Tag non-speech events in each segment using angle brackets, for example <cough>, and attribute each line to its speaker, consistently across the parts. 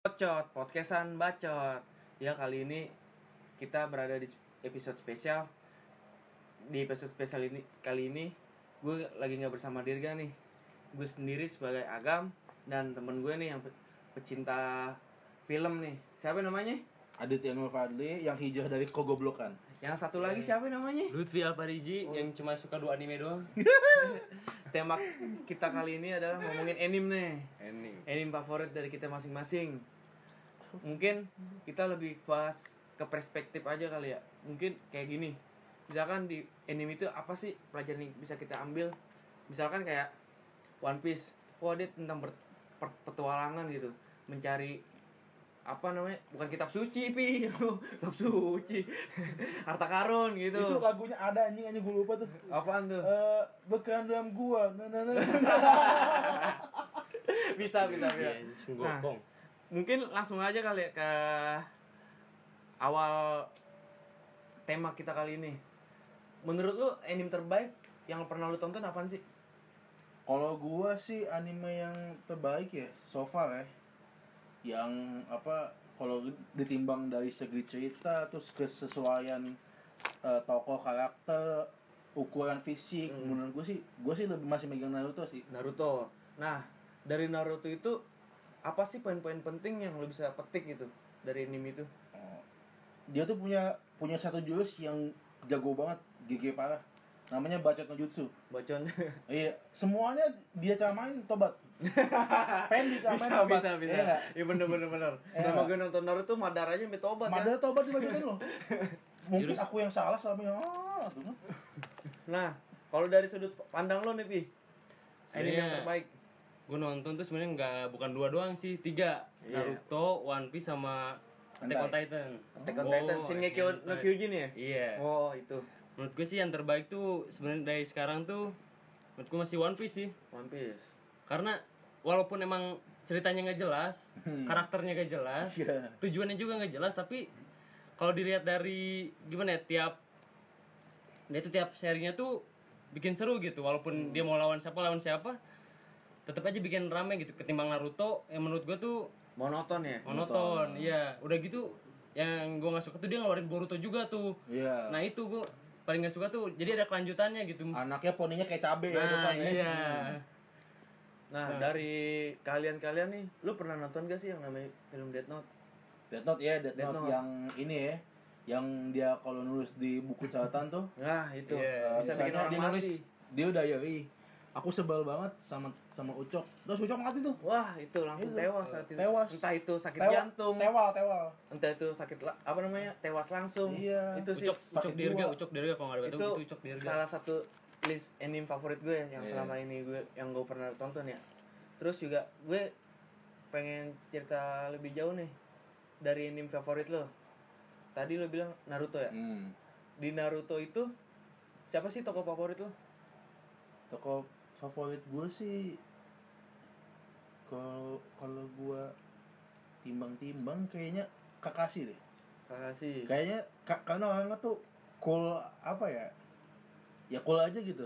Speaker 1: bacot, podcastan bacot. Ya kali ini kita berada di episode spesial. Di episode spesial ini kali ini gue lagi nggak bersama Dirga nih. Gue sendiri sebagai Agam dan temen gue nih yang pe- pecinta film nih. Siapa namanya?
Speaker 2: Aditya Nur Fadli yang hijrah dari kogoblokan.
Speaker 1: Yang satu lagi siapa namanya?
Speaker 3: Lutfi Alpariji yang cuma suka dua anime
Speaker 1: <laughs>
Speaker 3: doang.
Speaker 1: Tema kita kali ini adalah ngomongin anime nih.
Speaker 3: Anime.
Speaker 1: anime favorit dari kita masing-masing. Mungkin kita lebih bahas ke perspektif aja kali ya. Mungkin kayak gini. Misalkan di anime itu apa sih pelajaran yang bisa kita ambil? Misalkan kayak One Piece. Wah, dia tentang ber- per- petualangan gitu, mencari apa namanya? Bukan kitab suci, Pi. <laughs> kitab suci. <laughs> Harta karun gitu.
Speaker 2: Itu lagunya ada anjing aja gue lupa tuh.
Speaker 1: Apaan tuh?
Speaker 2: Eh, bekan dalam gua. Nah, nah, nah, nah.
Speaker 1: <laughs> bisa, bisa, bisa.
Speaker 3: Iya,
Speaker 1: Nah.
Speaker 3: Gokong.
Speaker 1: mungkin langsung aja kali ya ke awal tema kita kali ini. Menurut lu anime terbaik yang pernah lu tonton apaan sih?
Speaker 2: Kalau gua sih anime yang terbaik ya so far ya. Yang apa kalau ditimbang dari segi cerita terus kesesuaian eh, tokoh karakter ukuran fisik menurut gue sih gue sih lebih masih megang Naruto sih
Speaker 1: Naruto. Nah, dari Naruto itu apa sih poin-poin penting yang lu bisa petik gitu dari anime itu?
Speaker 2: dia tuh punya punya satu jurus yang jago banget GG parah namanya bacot no jutsu
Speaker 1: <laughs> Bacon.
Speaker 2: Iya, semuanya dia camain tobat. Pen dicamain
Speaker 1: bisa,
Speaker 2: tobat.
Speaker 1: bisa, bisa.
Speaker 2: Iya
Speaker 1: Iya
Speaker 2: nggak?
Speaker 1: bener bener <laughs> bener. Selama gue nonton Naruto madar aja sampai tobat
Speaker 2: Madahal
Speaker 1: ya.
Speaker 2: tobat dibajutin
Speaker 1: <laughs>
Speaker 2: loh. Mungkin aku yang salah selama yang ah, tuh.
Speaker 1: Nah, kalau dari sudut pandang lo nih, Pi. Anime yang
Speaker 3: Sebenarnya-
Speaker 1: terbaik.
Speaker 3: Gue nonton tuh sebenarnya nggak bukan dua doang sih, tiga. Naruto, One Piece sama Attack on
Speaker 2: Bandai.
Speaker 3: Titan.
Speaker 1: Attack on Titan,
Speaker 3: Oh,
Speaker 1: Shingeki
Speaker 3: Attack on
Speaker 1: no
Speaker 3: Titan.
Speaker 1: Kyojin ya?
Speaker 3: Iya.
Speaker 1: Oh, itu.
Speaker 3: Menurut gue sih yang terbaik tuh sebenarnya dari sekarang tuh menurut gue masih One Piece sih.
Speaker 1: One Piece.
Speaker 3: Karena walaupun emang ceritanya nggak jelas,
Speaker 1: Hmm.
Speaker 3: karakternya nggak jelas,
Speaker 2: Iya.
Speaker 3: tujuannya juga nggak jelas, tapi kalau dilihat dari gimana ya tiap dia tuh tiap serinya tuh bikin seru gitu, walaupun dia mau lawan siapa lawan siapa, tetap aja bikin rame gitu. Ketimbang Naruto, yang menurut gue tuh
Speaker 1: monoton ya
Speaker 3: monoton, iya. Udah gitu yang gue nggak suka tuh dia ngeluarin Boruto juga tuh.
Speaker 2: Iya.
Speaker 3: Nah itu gue paling nggak suka tuh, jadi ada kelanjutannya gitu.
Speaker 2: Anaknya poninya kayak cabe ya
Speaker 3: Nah
Speaker 2: depan ya.
Speaker 3: iya.
Speaker 1: nah dari kalian-kalian nih lu pernah nonton gak sih yang namanya film Death Note
Speaker 2: Death Note ya, Death,
Speaker 1: Death
Speaker 2: Note,
Speaker 1: Note.
Speaker 2: yang ini ya. Yang dia kalau nulis di buku catatan tuh
Speaker 1: nah itu
Speaker 2: eh,
Speaker 3: Iya.
Speaker 1: bisa bikin
Speaker 2: misalnya
Speaker 1: orang
Speaker 2: dia nulis
Speaker 1: mati
Speaker 2: dia udah diary. Aku sebel banget sama sama Ucok. Terus Ucok mati tuh.
Speaker 1: wah itu langsung tewas saat itu
Speaker 2: Tewas.
Speaker 1: entah itu sakit
Speaker 2: Tewa-
Speaker 1: jantung
Speaker 2: Tewal, tewal.
Speaker 1: entah itu sakit la- apa namanya tewas langsung
Speaker 2: Iya.
Speaker 1: itu sih
Speaker 3: Ucok, ucok
Speaker 2: sakit
Speaker 3: dirga,
Speaker 2: jiwa.
Speaker 3: ucok dirga kalau nggak ada
Speaker 1: itu
Speaker 3: itu, itu ucok dirga.
Speaker 1: salah satu list anime favorit gue yang selama ini gue yang gue pernah tonton ya terus juga gue pengen cerita lebih jauh nih dari anime favorit lo tadi lo bilang Naruto ya
Speaker 2: Hmm.
Speaker 1: di Naruto itu siapa sih tokoh favorit lo?
Speaker 2: toko favorit gue sih kalau kalau gue timbang-timbang kayaknya Kakashi deh
Speaker 1: Kakashi.
Speaker 2: kayaknya ka- karena orangnya tuh cool apa ya ya cool aja gitu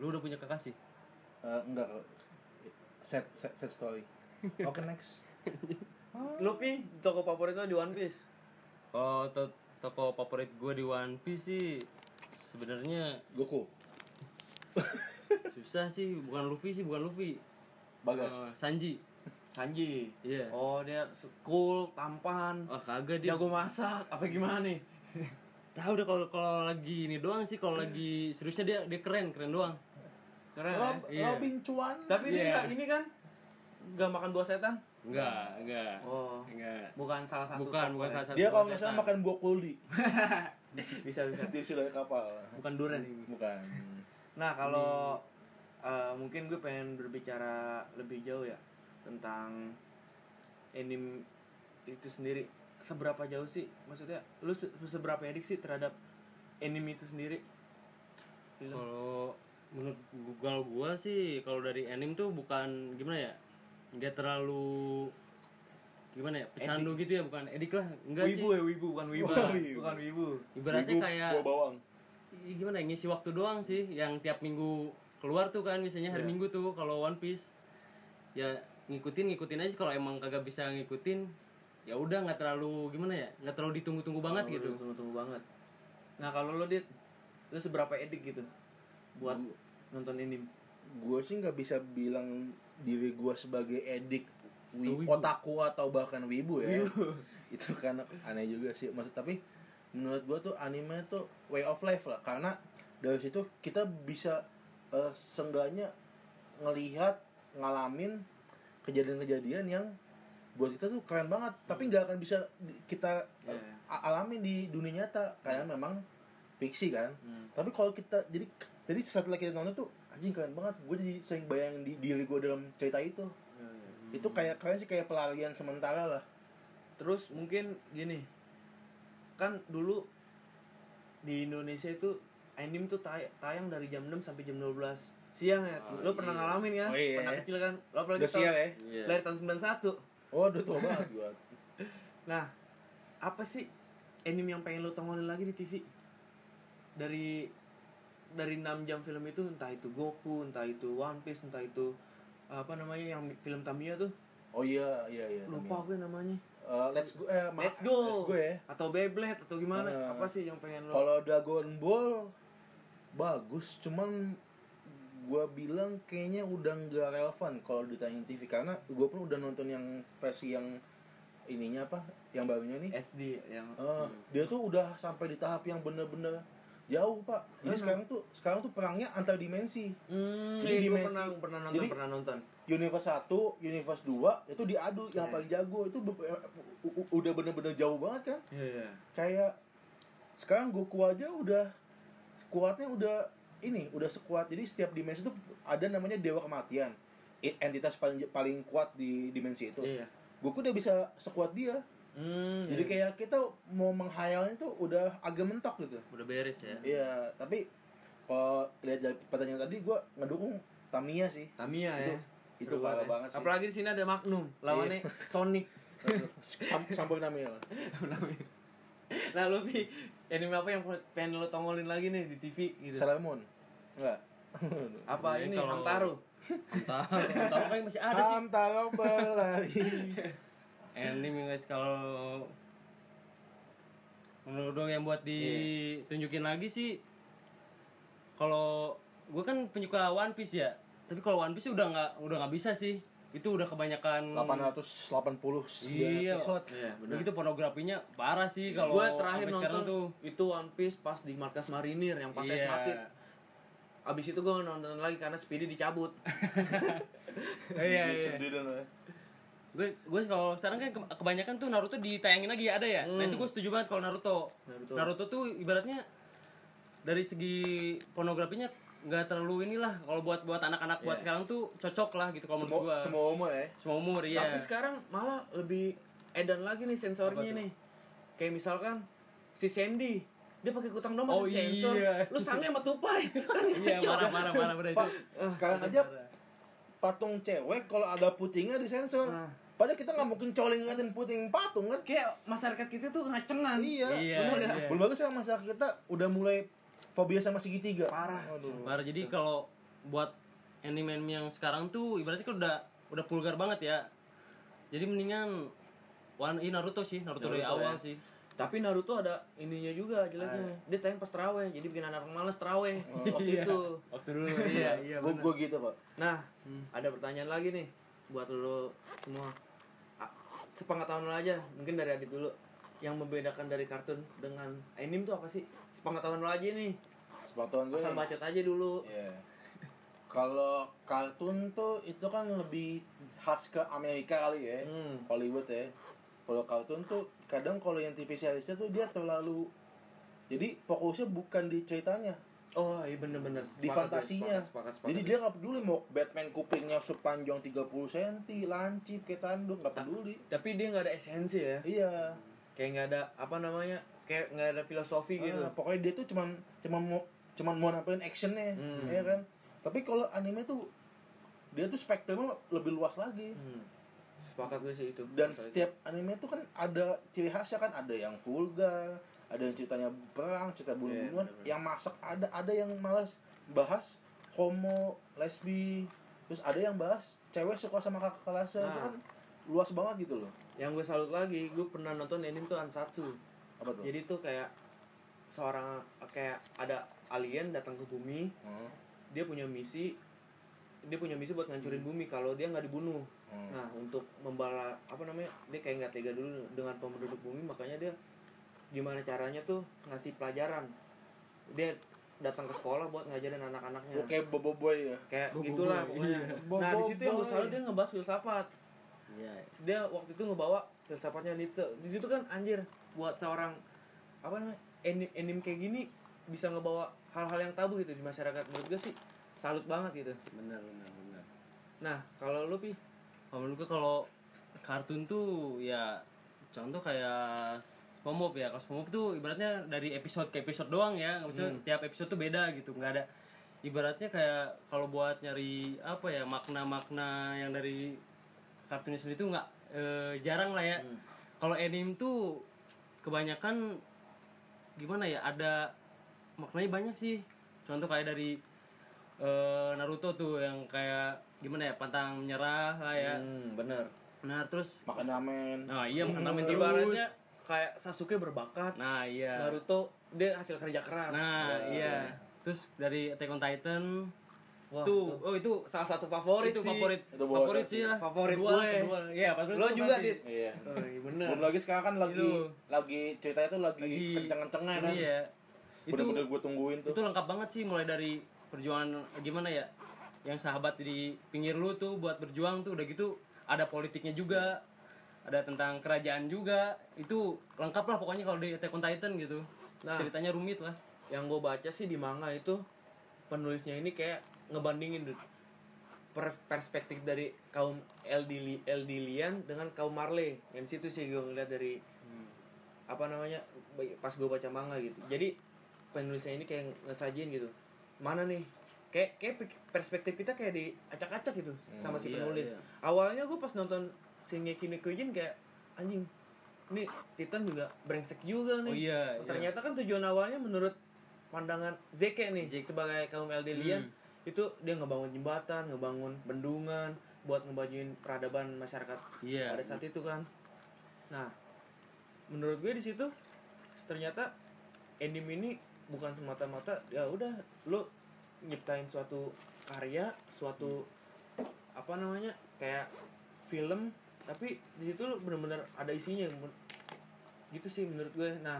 Speaker 3: Lu udah punya kekasih?
Speaker 2: Eh, enggak set set, set <laughs> story oke next
Speaker 1: Lu pi tokoh favorit lo di One Piece?
Speaker 3: Oh, to- toko favorit gue di One Piece sih sebenarnya
Speaker 2: Goku
Speaker 3: susah sih, bukan Luffy sih, bukan Luffy.
Speaker 2: Bagas
Speaker 3: Eh, Sanji.
Speaker 1: Sanji.
Speaker 3: Iya.
Speaker 1: Oh dia su- cool, tampan,
Speaker 3: Oh, kagak dia.
Speaker 1: jago masak, apa gimana nih?
Speaker 3: Tahu udah kalau kalau lagi ini doang sih, kalau lagi seriusnya dia dia keren, keren doang.
Speaker 1: Keren. ya?
Speaker 2: Rob-
Speaker 3: Iya.
Speaker 2: Robin Chuan
Speaker 1: Tapi dia
Speaker 3: Iya.
Speaker 1: nggak ini kan nggak makan buah setan?
Speaker 3: Enggak, enggak.
Speaker 1: Oh.
Speaker 3: Enggak.
Speaker 1: Bukan salah satu.
Speaker 3: Bukan,
Speaker 1: tokoh
Speaker 3: bukan
Speaker 1: ya?
Speaker 3: salah satu.
Speaker 2: dia kalau nggak
Speaker 3: bukan
Speaker 2: salah
Speaker 3: setan.
Speaker 2: makan buah kuldi
Speaker 1: Bisa bisa.
Speaker 2: di silai kapal
Speaker 1: Bukan durian.
Speaker 2: bukan
Speaker 1: Nah kalau eh, mungkin gue pengen berbicara lebih jauh ya tentang anime itu sendiri. Seberapa jauh sih? Maksudnya lu se- seberapa edik sih terhadap anime itu sendiri? Film.
Speaker 3: Kalau menurut gu- kalau gua sih kalau dari anime tuh bukan gimana ya? Enggak terlalu gimana ya? Pecandu gitu ya, bukan edik lah. Enggak sih.
Speaker 1: Wibu ya wibu bukan wibu
Speaker 2: wibu.
Speaker 1: bukan wibu.
Speaker 3: Ibaratnya kayak
Speaker 2: buah bawang
Speaker 3: i- gimana ya, ngisi waktu doang sih yang tiap minggu keluar tuh kan misalnya hari Minggu tuh kalau One Piece. Ya ngikutin ngikutin aja kalau emang kagak bisa ngikutin ya udah nggak terlalu gimana ya nggak terlalu ditunggu-tunggu banget gitu
Speaker 1: Tunggu-tunggu banget. Nah, kalau lo dit lu seberapa edik gitu buat nonton anime?
Speaker 2: gue sih nggak bisa bilang diri gue sebagai edik wi-
Speaker 3: Atau wibu.
Speaker 2: otaku atau bahkan wibu ya <laughs> itu kan aneh juga sih maksud tapi menurut gue tuh anime tuh way of life lah karena dari situ kita bisa eh, seenggaknya ngelihat ngalamin kejadian-kejadian yang buat kita tuh keren banget tapi nggak akan bisa di- kita eh,
Speaker 1: Iya.
Speaker 2: a- alami di dunia nyata karena memang fiksi kan
Speaker 1: Hmm.
Speaker 2: tapi kalau kita jadi jadi setelah kita nonton tuh anjing keren banget gue jadi sering bayangin di diri gue dalam cerita itu
Speaker 1: Hmm.
Speaker 2: itu kayak keren sih kayak pelarian sementara lah
Speaker 1: Terus mungkin gini. Kan dulu di Indonesia itu anime tuh tay- tayang dari jam 6 sampai jam 12 siang ya.
Speaker 3: Oh,
Speaker 1: lo pernah
Speaker 3: iya.
Speaker 1: ngalamin kan?
Speaker 2: Oh, Ah, iya.
Speaker 1: Pernah kecil kan? Lo apalagi
Speaker 2: udah sial
Speaker 1: tahun,
Speaker 2: ya
Speaker 3: Iya.
Speaker 1: lahir tahun 91.
Speaker 2: oh udah tua banget gue
Speaker 1: Nah, apa sih anime yang pengen lo tontonin lagi di TV? Dari dari 6 jam film itu entah itu Goku, entah itu One Piece, entah itu apa namanya yang film Tamiya tuh
Speaker 2: oh iya iya iya
Speaker 1: lupa gue namanya
Speaker 2: Eh, let's go eh, ma-
Speaker 1: Let's Go.
Speaker 2: let's go ya
Speaker 1: atau Beyblade atau gimana
Speaker 2: Eh,
Speaker 1: apa sih yang pengen lo
Speaker 2: kalau Dragon Ball bagus cuman gue bilang kayaknya udah nggak relevan kalau ditayangin TV karena gue pun udah nonton yang versi yang ininya apa yang barunya nih
Speaker 1: SD yang
Speaker 2: Ah, dia tuh udah sampai di tahap yang bener-bener jauh pak jadi
Speaker 1: Hmm.
Speaker 2: sekarang tuh sekarang tuh perangnya antar dimensi
Speaker 1: Hmm, iya,
Speaker 2: Jadi
Speaker 1: gue
Speaker 2: dimensi-
Speaker 1: pernah pernah nonton
Speaker 2: jadi-
Speaker 1: pernah nonton
Speaker 2: universe 1, universe 2 itu diadu yang
Speaker 1: Iya.
Speaker 2: paling jago itu be- eh, u- u- udah bener-bener jauh banget kan
Speaker 1: iya
Speaker 2: kayak sekarang Goku aja udah kuatnya udah ini udah sekuat jadi setiap dimensi tuh ada namanya dewa kematian I- entitas paling paling kuat di dimensi itu
Speaker 1: iya
Speaker 2: Goku udah bisa sekuat dia
Speaker 1: Hmm,
Speaker 2: jadi
Speaker 1: iya.
Speaker 2: kayak kita mau menghayalnya tuh udah agak mentok gitu
Speaker 3: udah beres ya
Speaker 2: Iya, tapi kalau lihat dari pertanyaan tadi gue ngedukung Tamiya sih.
Speaker 1: Tamiya ya
Speaker 2: itu
Speaker 1: Seru
Speaker 2: parah
Speaker 1: ya.
Speaker 2: banget sih. Iya.
Speaker 1: apalagi di sini ada Magnum lawannya Sonic
Speaker 2: <laughs>
Speaker 1: <laughs>
Speaker 2: Sam Sampo Tamiya lah.
Speaker 1: nah lu Pi, anime apa yang pengen lo tongolin lagi nih di TV gitu
Speaker 2: Salamon. Enggak.
Speaker 1: apa
Speaker 3: Sebenarnya
Speaker 1: ini
Speaker 3: kalau-
Speaker 1: Hamtaro
Speaker 3: entah entah apa yang masih ada <laughs> sih
Speaker 2: Sam Taro
Speaker 1: <laughs>
Speaker 2: berlari.
Speaker 3: anime guys kalau menurut dong yang buat ditunjukin lagi sih kalau gue kan penyuka One Piece ya tapi kalau One Piece udah nggak udah nggak bisa sih itu udah kebanyakan
Speaker 2: 880
Speaker 3: Iya.
Speaker 2: episode.
Speaker 1: iya
Speaker 3: Udah gitu pornografinya parah sih kalau
Speaker 1: gue terakhir
Speaker 3: sampai
Speaker 1: nonton
Speaker 3: sekarang tuh
Speaker 1: itu One Piece pas di markas marinir yang pas saya
Speaker 3: Iya.
Speaker 1: mati abis itu gue nonton lagi karena Speedy dicabut
Speaker 3: <laughs>
Speaker 1: Gitu.
Speaker 3: iya iya
Speaker 2: ya.
Speaker 3: gue gue kalau sekarang kan ke- kebanyakan tuh Naruto ditayangin lagi ada ya nah itu gue setuju banget kalau Naruto.
Speaker 1: Hmm. Naruto.
Speaker 3: Naruto tuh ibaratnya dari segi pornografinya nggak terlalu inilah kalau buat buat anak-anak
Speaker 1: Iya.
Speaker 3: buat sekarang tuh cocok lah gitu kalau menurut
Speaker 2: Semua
Speaker 3: gue semua,
Speaker 2: semua umur ya.
Speaker 3: umur
Speaker 1: tapi
Speaker 3: ya
Speaker 1: sekarang malah lebih edan lagi nih sensornya nih kayak misalkan si Sandy dia pakai kutang dong
Speaker 3: Oh,
Speaker 1: masih sensor
Speaker 3: iya.
Speaker 1: lu sange sama
Speaker 3: <laughs>
Speaker 1: tupai kan <laughs>
Speaker 3: iya
Speaker 1: ngaco.
Speaker 3: marah marah marah udah itu
Speaker 2: Pak, sekarang aja patung cewek kalau ada putingnya disensor.
Speaker 1: Nah.
Speaker 2: Padahal kita nggak mungkin coleng ngatin puting patung kan?
Speaker 1: kayak masyarakat kita tuh ngacengan
Speaker 2: Iya.
Speaker 3: iya
Speaker 1: bener dah.
Speaker 3: iya.
Speaker 2: Belum bagus sama masyarakat kita udah mulai fobia sama segitiga.
Speaker 1: Parah.
Speaker 2: Aduh.
Speaker 3: Baru jadi kalau buat anime yang sekarang tuh ibaratnya kan udah udah vulgar banget ya. Jadi mendingan One ini Naruto sih, Naruto, dari
Speaker 1: Naruto ya.
Speaker 3: awal sih.
Speaker 1: tapi Naruto ada ininya juga jeleknya dia tayang pas teraweh jadi bikin anak males teraweh waktu
Speaker 3: Iya.
Speaker 1: itu
Speaker 3: Waktu dulu <laughs> iya iya.
Speaker 2: Gue gue gitu pak.
Speaker 1: Nah,
Speaker 2: Hmm.
Speaker 1: ada pertanyaan lagi nih buat lo semua. A- Sepengetahuan lo aja, mungkin dari Adit dulu. Yang membedakan dari kartun dengan anime tuh apa sih? Sepengetahuan lo aja nih.
Speaker 2: Sepengetahuan gue.
Speaker 1: Asal
Speaker 2: nih.
Speaker 1: bacot aja dulu.
Speaker 2: Iya. Kalau kartun tuh itu kan lebih khas ke Amerika kali ya,
Speaker 1: Hmm.
Speaker 2: Hollywood ya. Kalau kartun tuh kadang kalau yang TV seriesnya tuh dia terlalu jadi fokusnya bukan di ceritanya,
Speaker 1: Oh, iya bener-bener.
Speaker 2: di
Speaker 1: Sepakat,
Speaker 2: fantasinya.
Speaker 1: Sepakat, sepakat, sepakat.
Speaker 2: Jadi dia nggak peduli mau Batman kupingnya sepanjang 30 cm, lancip kayak tanduk nggak peduli.
Speaker 1: Tapi dia nggak ada esensi ya.
Speaker 2: Iya.
Speaker 1: Kayak nggak ada apa namanya? Kayak nggak ada filosofi gitu.
Speaker 2: Ah, pokoknya dia tuh cuman cuman mau cuman mau nampilin actionnya
Speaker 1: Hmm.
Speaker 2: ya kan tapi kalau anime tuh dia tuh spektrumnya lebih luas lagi
Speaker 1: Hmm. Sepakat gue sih itu.
Speaker 2: dan
Speaker 1: Masalah itu.
Speaker 2: setiap anime tuh kan ada ciri khasnya kan ada yang vulgar ada yang ceritanya perang
Speaker 3: Iya,
Speaker 2: cerita bunuh-bunuhan
Speaker 1: bener-bener.
Speaker 2: yang masak ada ada yang malas bahas homo lesbi terus ada yang bahas cewek suka sama kakak kelasnya itu
Speaker 1: Nah.
Speaker 2: kan luas banget gitu loh
Speaker 1: yang gue salut lagi gue pernah nonton anime tuh Ansatsu
Speaker 2: apa tuh
Speaker 1: jadi tuh kayak seorang kayak ada alien datang ke bumi
Speaker 2: Hmm,
Speaker 1: dia punya misi dia punya misi buat ngancurin bumi kalau dia nggak dibunuh
Speaker 2: hmm.
Speaker 1: nah untuk membala apa namanya dia kayak nggak tega dulu dengan penduduk bumi makanya dia gimana caranya tuh ngasih pelajaran dia datang ke sekolah buat ngajarin anak-anaknya
Speaker 3: Nah.
Speaker 2: Oke, Bobo Boy Iya. ya.
Speaker 1: kayak
Speaker 3: Boboiboy,
Speaker 1: gitulah pokoknya nah di situ yang gue salut dia ngebahas filsafat
Speaker 3: Iya.
Speaker 1: dia waktu itu ngebawa filsafatnya Nietzsche di situ kan anjir buat seorang apa namanya anim, anim kayak gini bisa ngebawa hal-hal yang tabu gitu di masyarakat menurut gue sih salut banget gitu
Speaker 3: Benar benar benar.
Speaker 1: nah kalau lu pi
Speaker 3: Kalau menurut gue kalau kartun tuh ya contoh kayak SpongeBob ya. Kalau SpongeBob tuh ibaratnya dari episode ke episode doang ya. Nggak bisa- tiap episode tuh beda gitu. Nggak ada ibaratnya kayak kalau buat nyari apa ya makna-makna yang dari kartunnya sendiri tuh nggak eh, jarang lah ya. Kalau anime tuh kebanyakan gimana ya ada maknanya banyak sih. Contoh kayak dari eh, Naruto tuh yang kayak gimana ya pantang menyerah lah ya.
Speaker 1: hmm, bener
Speaker 3: Nah terus
Speaker 2: Makan ramen.
Speaker 3: Nah iya makan ramen terus
Speaker 1: ibaratnya kayak Sasuke berbakat
Speaker 3: Nah iya
Speaker 1: Naruto dia hasil kerja keras
Speaker 3: Nah iya Terus dari Attack on Titan
Speaker 1: Wah,
Speaker 3: Tuh
Speaker 1: itu
Speaker 3: Oh itu
Speaker 1: salah satu favorit
Speaker 3: Itu
Speaker 1: sih
Speaker 3: favorit
Speaker 2: Itu bola
Speaker 3: Favorit
Speaker 2: kaki.
Speaker 3: sih lah
Speaker 1: Favorit
Speaker 3: Kedua,
Speaker 1: gue.
Speaker 3: kedua. Iya favorit
Speaker 1: lo
Speaker 3: gue
Speaker 1: juga
Speaker 3: pasti.
Speaker 1: dit
Speaker 2: Iya.
Speaker 1: oh, iya bener
Speaker 2: Belum lagi sekarang kan lagi
Speaker 3: Itu.
Speaker 2: lagi ceritanya tuh lagi,
Speaker 3: Lagi
Speaker 2: kenceng-kencengan kan.
Speaker 3: Iya Itu
Speaker 2: Bener-bener gitu. gue tungguin tuh.
Speaker 3: itu lengkap banget sih mulai dari perjuangan gimana ya yang sahabat di pinggir lu tuh buat berjuang tuh udah gitu ada politiknya juga ada tentang kerajaan juga itu lengkap lah pokoknya kalau di Attack on Titan gitu
Speaker 1: Nah.
Speaker 3: ceritanya rumit lah
Speaker 1: yang gue baca sih di manga itu penulisnya ini kayak ngebandingin Dut. Per- perspektif dari kaum Eldili Eldilian dengan kaum Marley yang situ sih gue ngeliat dari
Speaker 3: Hmm.
Speaker 1: apa namanya ba- pas gue baca manga gitu jadi penulisnya ini kayak ngesajin gitu mana nih kayak kayak pik- perspektif kita kayak diacak-acak gitu sama si
Speaker 3: iya,
Speaker 1: penulis
Speaker 3: iya.
Speaker 1: awalnya gue pas nonton Shingeki no Kyojin kayak anjing ini Titan juga brengsek juga nih
Speaker 3: Oh iya,
Speaker 1: Oh,
Speaker 3: iya.
Speaker 1: ternyata kan tujuan awalnya menurut pandangan Zeke nih
Speaker 3: Zeke. Hmm.
Speaker 1: sebagai kaum Eldelian itu dia ngebangun jembatan, ngebangun bendungan buat ngebajuin peradaban masyarakat
Speaker 3: Iya.
Speaker 1: pada saat itu kan. Nah, menurut gue di situ ternyata anime ini bukan semata-mata ya udah lo nyiptain suatu karya, suatu apa namanya kayak film tapi di situ lo bener-bener ada isinya gitu sih menurut gue nah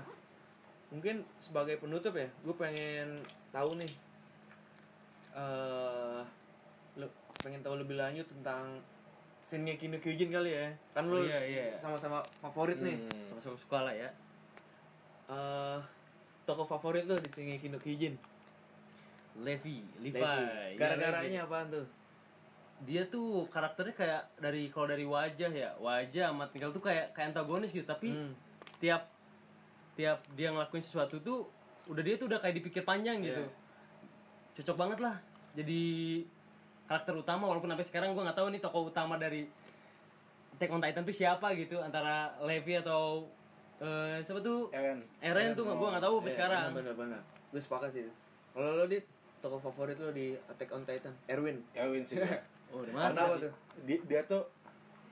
Speaker 1: mungkin sebagai penutup ya gue pengen tahu nih eh lo pengen tahu lebih lanjut tentang Shingeki no Kyojin kali ya kan lo
Speaker 3: Iya, iya.
Speaker 1: sama-sama favorit nih
Speaker 3: sama-sama suka lah ya
Speaker 1: eh toko favorit lo di Shingeki no Kyojin
Speaker 3: Levi
Speaker 1: Levi.
Speaker 3: Levi Iya, Levi.
Speaker 1: gara-garanya apaan tuh
Speaker 3: dia tuh karakternya kayak dari kalau dari wajah ya wajah sama tinggal tuh kayak kayak antagonis gitu tapi
Speaker 1: Hmm.
Speaker 3: setiap tiap dia ngelakuin sesuatu tuh udah dia tuh udah kayak dipikir panjang gitu
Speaker 1: Iya.
Speaker 3: cocok banget lah jadi karakter utama walaupun sampai sekarang gue nggak tahu nih tokoh utama dari Attack on Titan tuh siapa gitu antara Levi atau eh, siapa tuh
Speaker 2: Eren.
Speaker 3: Eren tuh gue nggak tahu Oh, sampai
Speaker 1: Iya,
Speaker 3: sekarang
Speaker 1: bener-bener gue sepakat sih kalau lo di toko favorit lo di Attack on Titan Erwin
Speaker 2: Erwin sih. gua.
Speaker 3: <laughs> oh di mana
Speaker 1: karena apa tuh <laughs>
Speaker 2: dia, dia tuh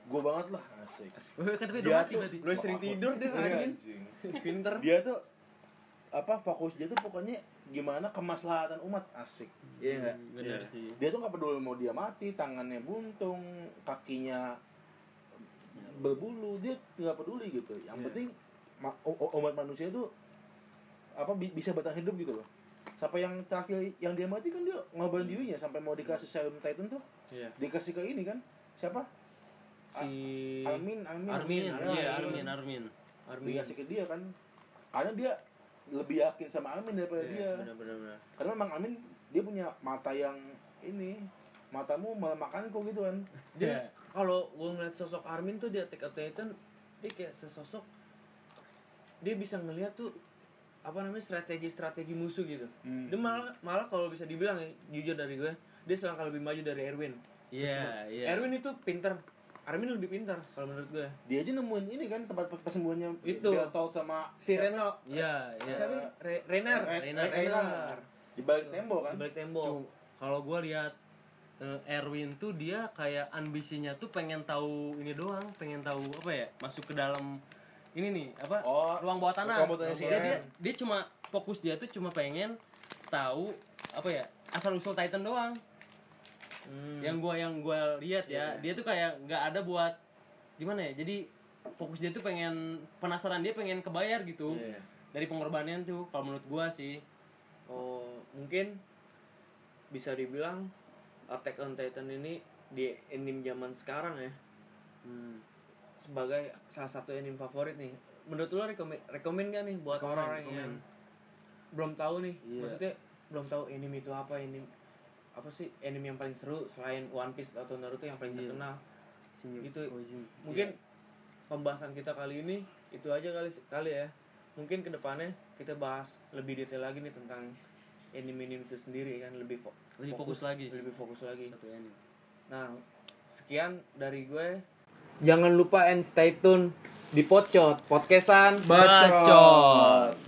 Speaker 2: gue banget lah asik.
Speaker 3: kan tapi udah
Speaker 2: Dia
Speaker 3: mati
Speaker 2: tuh-
Speaker 3: berarti
Speaker 1: lo sering tidur deh anjing
Speaker 2: Anjing.
Speaker 1: pinter
Speaker 3: Iya,
Speaker 2: Dia tuh apa fokus dia tuh pokoknya gimana kemaslahatan umat asik.
Speaker 1: iya nggak
Speaker 3: benar sih
Speaker 2: Dia tuh nggak peduli mau dia mati, tangannya buntung, kakinya berbulu, dia nggak peduli gitu. Yang penting ma- u- u- umat manusia tuh apa bi- bisa bertahan hidup gitu loh. Sampai yang terakhir yang dia mati kan dia ngobrol dirinya sampai mau dikasih serum Titan tuh
Speaker 1: iya
Speaker 2: dikasih ke ini kan siapa
Speaker 1: si
Speaker 2: Armin Armin
Speaker 1: Armin,
Speaker 3: Armin
Speaker 1: Armin,
Speaker 3: iya
Speaker 1: Armin.
Speaker 3: Armin Armin
Speaker 1: Armin
Speaker 2: dikasih ke dia kan karena dia lebih yakin sama Armin daripada
Speaker 1: Iya,
Speaker 2: dia
Speaker 1: bener-bener bener.
Speaker 2: karena memang Armin dia punya mata yang ini matamu melemakanku gitu kan
Speaker 1: dia
Speaker 3: Iya.
Speaker 1: kalau gue ngeliat sosok Armin tuh di Attack on Titan dia kayak sesosok dia bisa ngeliat tuh apa namanya strategi-strategi musuh gitu
Speaker 2: Hmm.
Speaker 1: dia malah malah kalau bisa dibilang ya, jujur dari gue dia selangkah lebih maju dari Erwin
Speaker 3: iya iya
Speaker 1: Erwin itu pinter Armin lebih pintar kalau menurut gue
Speaker 2: dia aja nemuin ini kan tempat pe- penyembunyiannya
Speaker 1: Itu.
Speaker 2: Beatol sama
Speaker 1: si Reno
Speaker 3: iya iya
Speaker 1: siapa Re- Reiner
Speaker 2: Re-
Speaker 3: Reiner.
Speaker 2: Reiner. di balik tembok kan
Speaker 1: balik tembok
Speaker 3: Cuma, kalau gue lihat eh, Erwin tuh dia kayak ambisinya tuh pengen tahu ini doang, pengen tahu apa ya, masuk ke dalam ini nih apa
Speaker 2: Oh,
Speaker 3: ruang bawah tanah.
Speaker 2: ruang bawah tanah si
Speaker 3: dia, dia
Speaker 2: Eren.
Speaker 3: dia cuma fokus dia tuh cuma pengen tahu apa ya asal usul Titan doang.
Speaker 1: Hmm.
Speaker 3: Yang gua yang gua lihat ya, dia tuh kayak nggak ada buat gimana ya. Jadi fokus dia tuh pengen penasaran dia pengen kebayar gitu
Speaker 2: Iya.
Speaker 3: dari pengorbanan tuh kalau menurut gua sih
Speaker 1: Oh, mungkin bisa dibilang Attack on Titan ini di anime zaman sekarang ya. Sebagai salah satu anime favorit nih. Menurut lo rekomen rekomen gak nih buat orang-orang yang belum tahu nih?
Speaker 3: Iya.
Speaker 1: Maksudnya belum tahu anime itu apa ini apa sih anime yang paling seru selain One Piece atau Naruto yang paling
Speaker 3: Iya.
Speaker 1: terkenal. Gitu. Mungkin pembahasan kita kali ini itu aja kali kali ya. Mungkin kedepannya kita bahas lebih detail lagi nih tentang anime anime itu sendiri kan lebih fo-
Speaker 3: Lebih fokus lagi.
Speaker 1: lebih fokus lagi.
Speaker 3: satu ini
Speaker 1: Nah, sekian dari gue. Jangan lupa and stay tune di Podcot, podcastan.
Speaker 2: Bacot.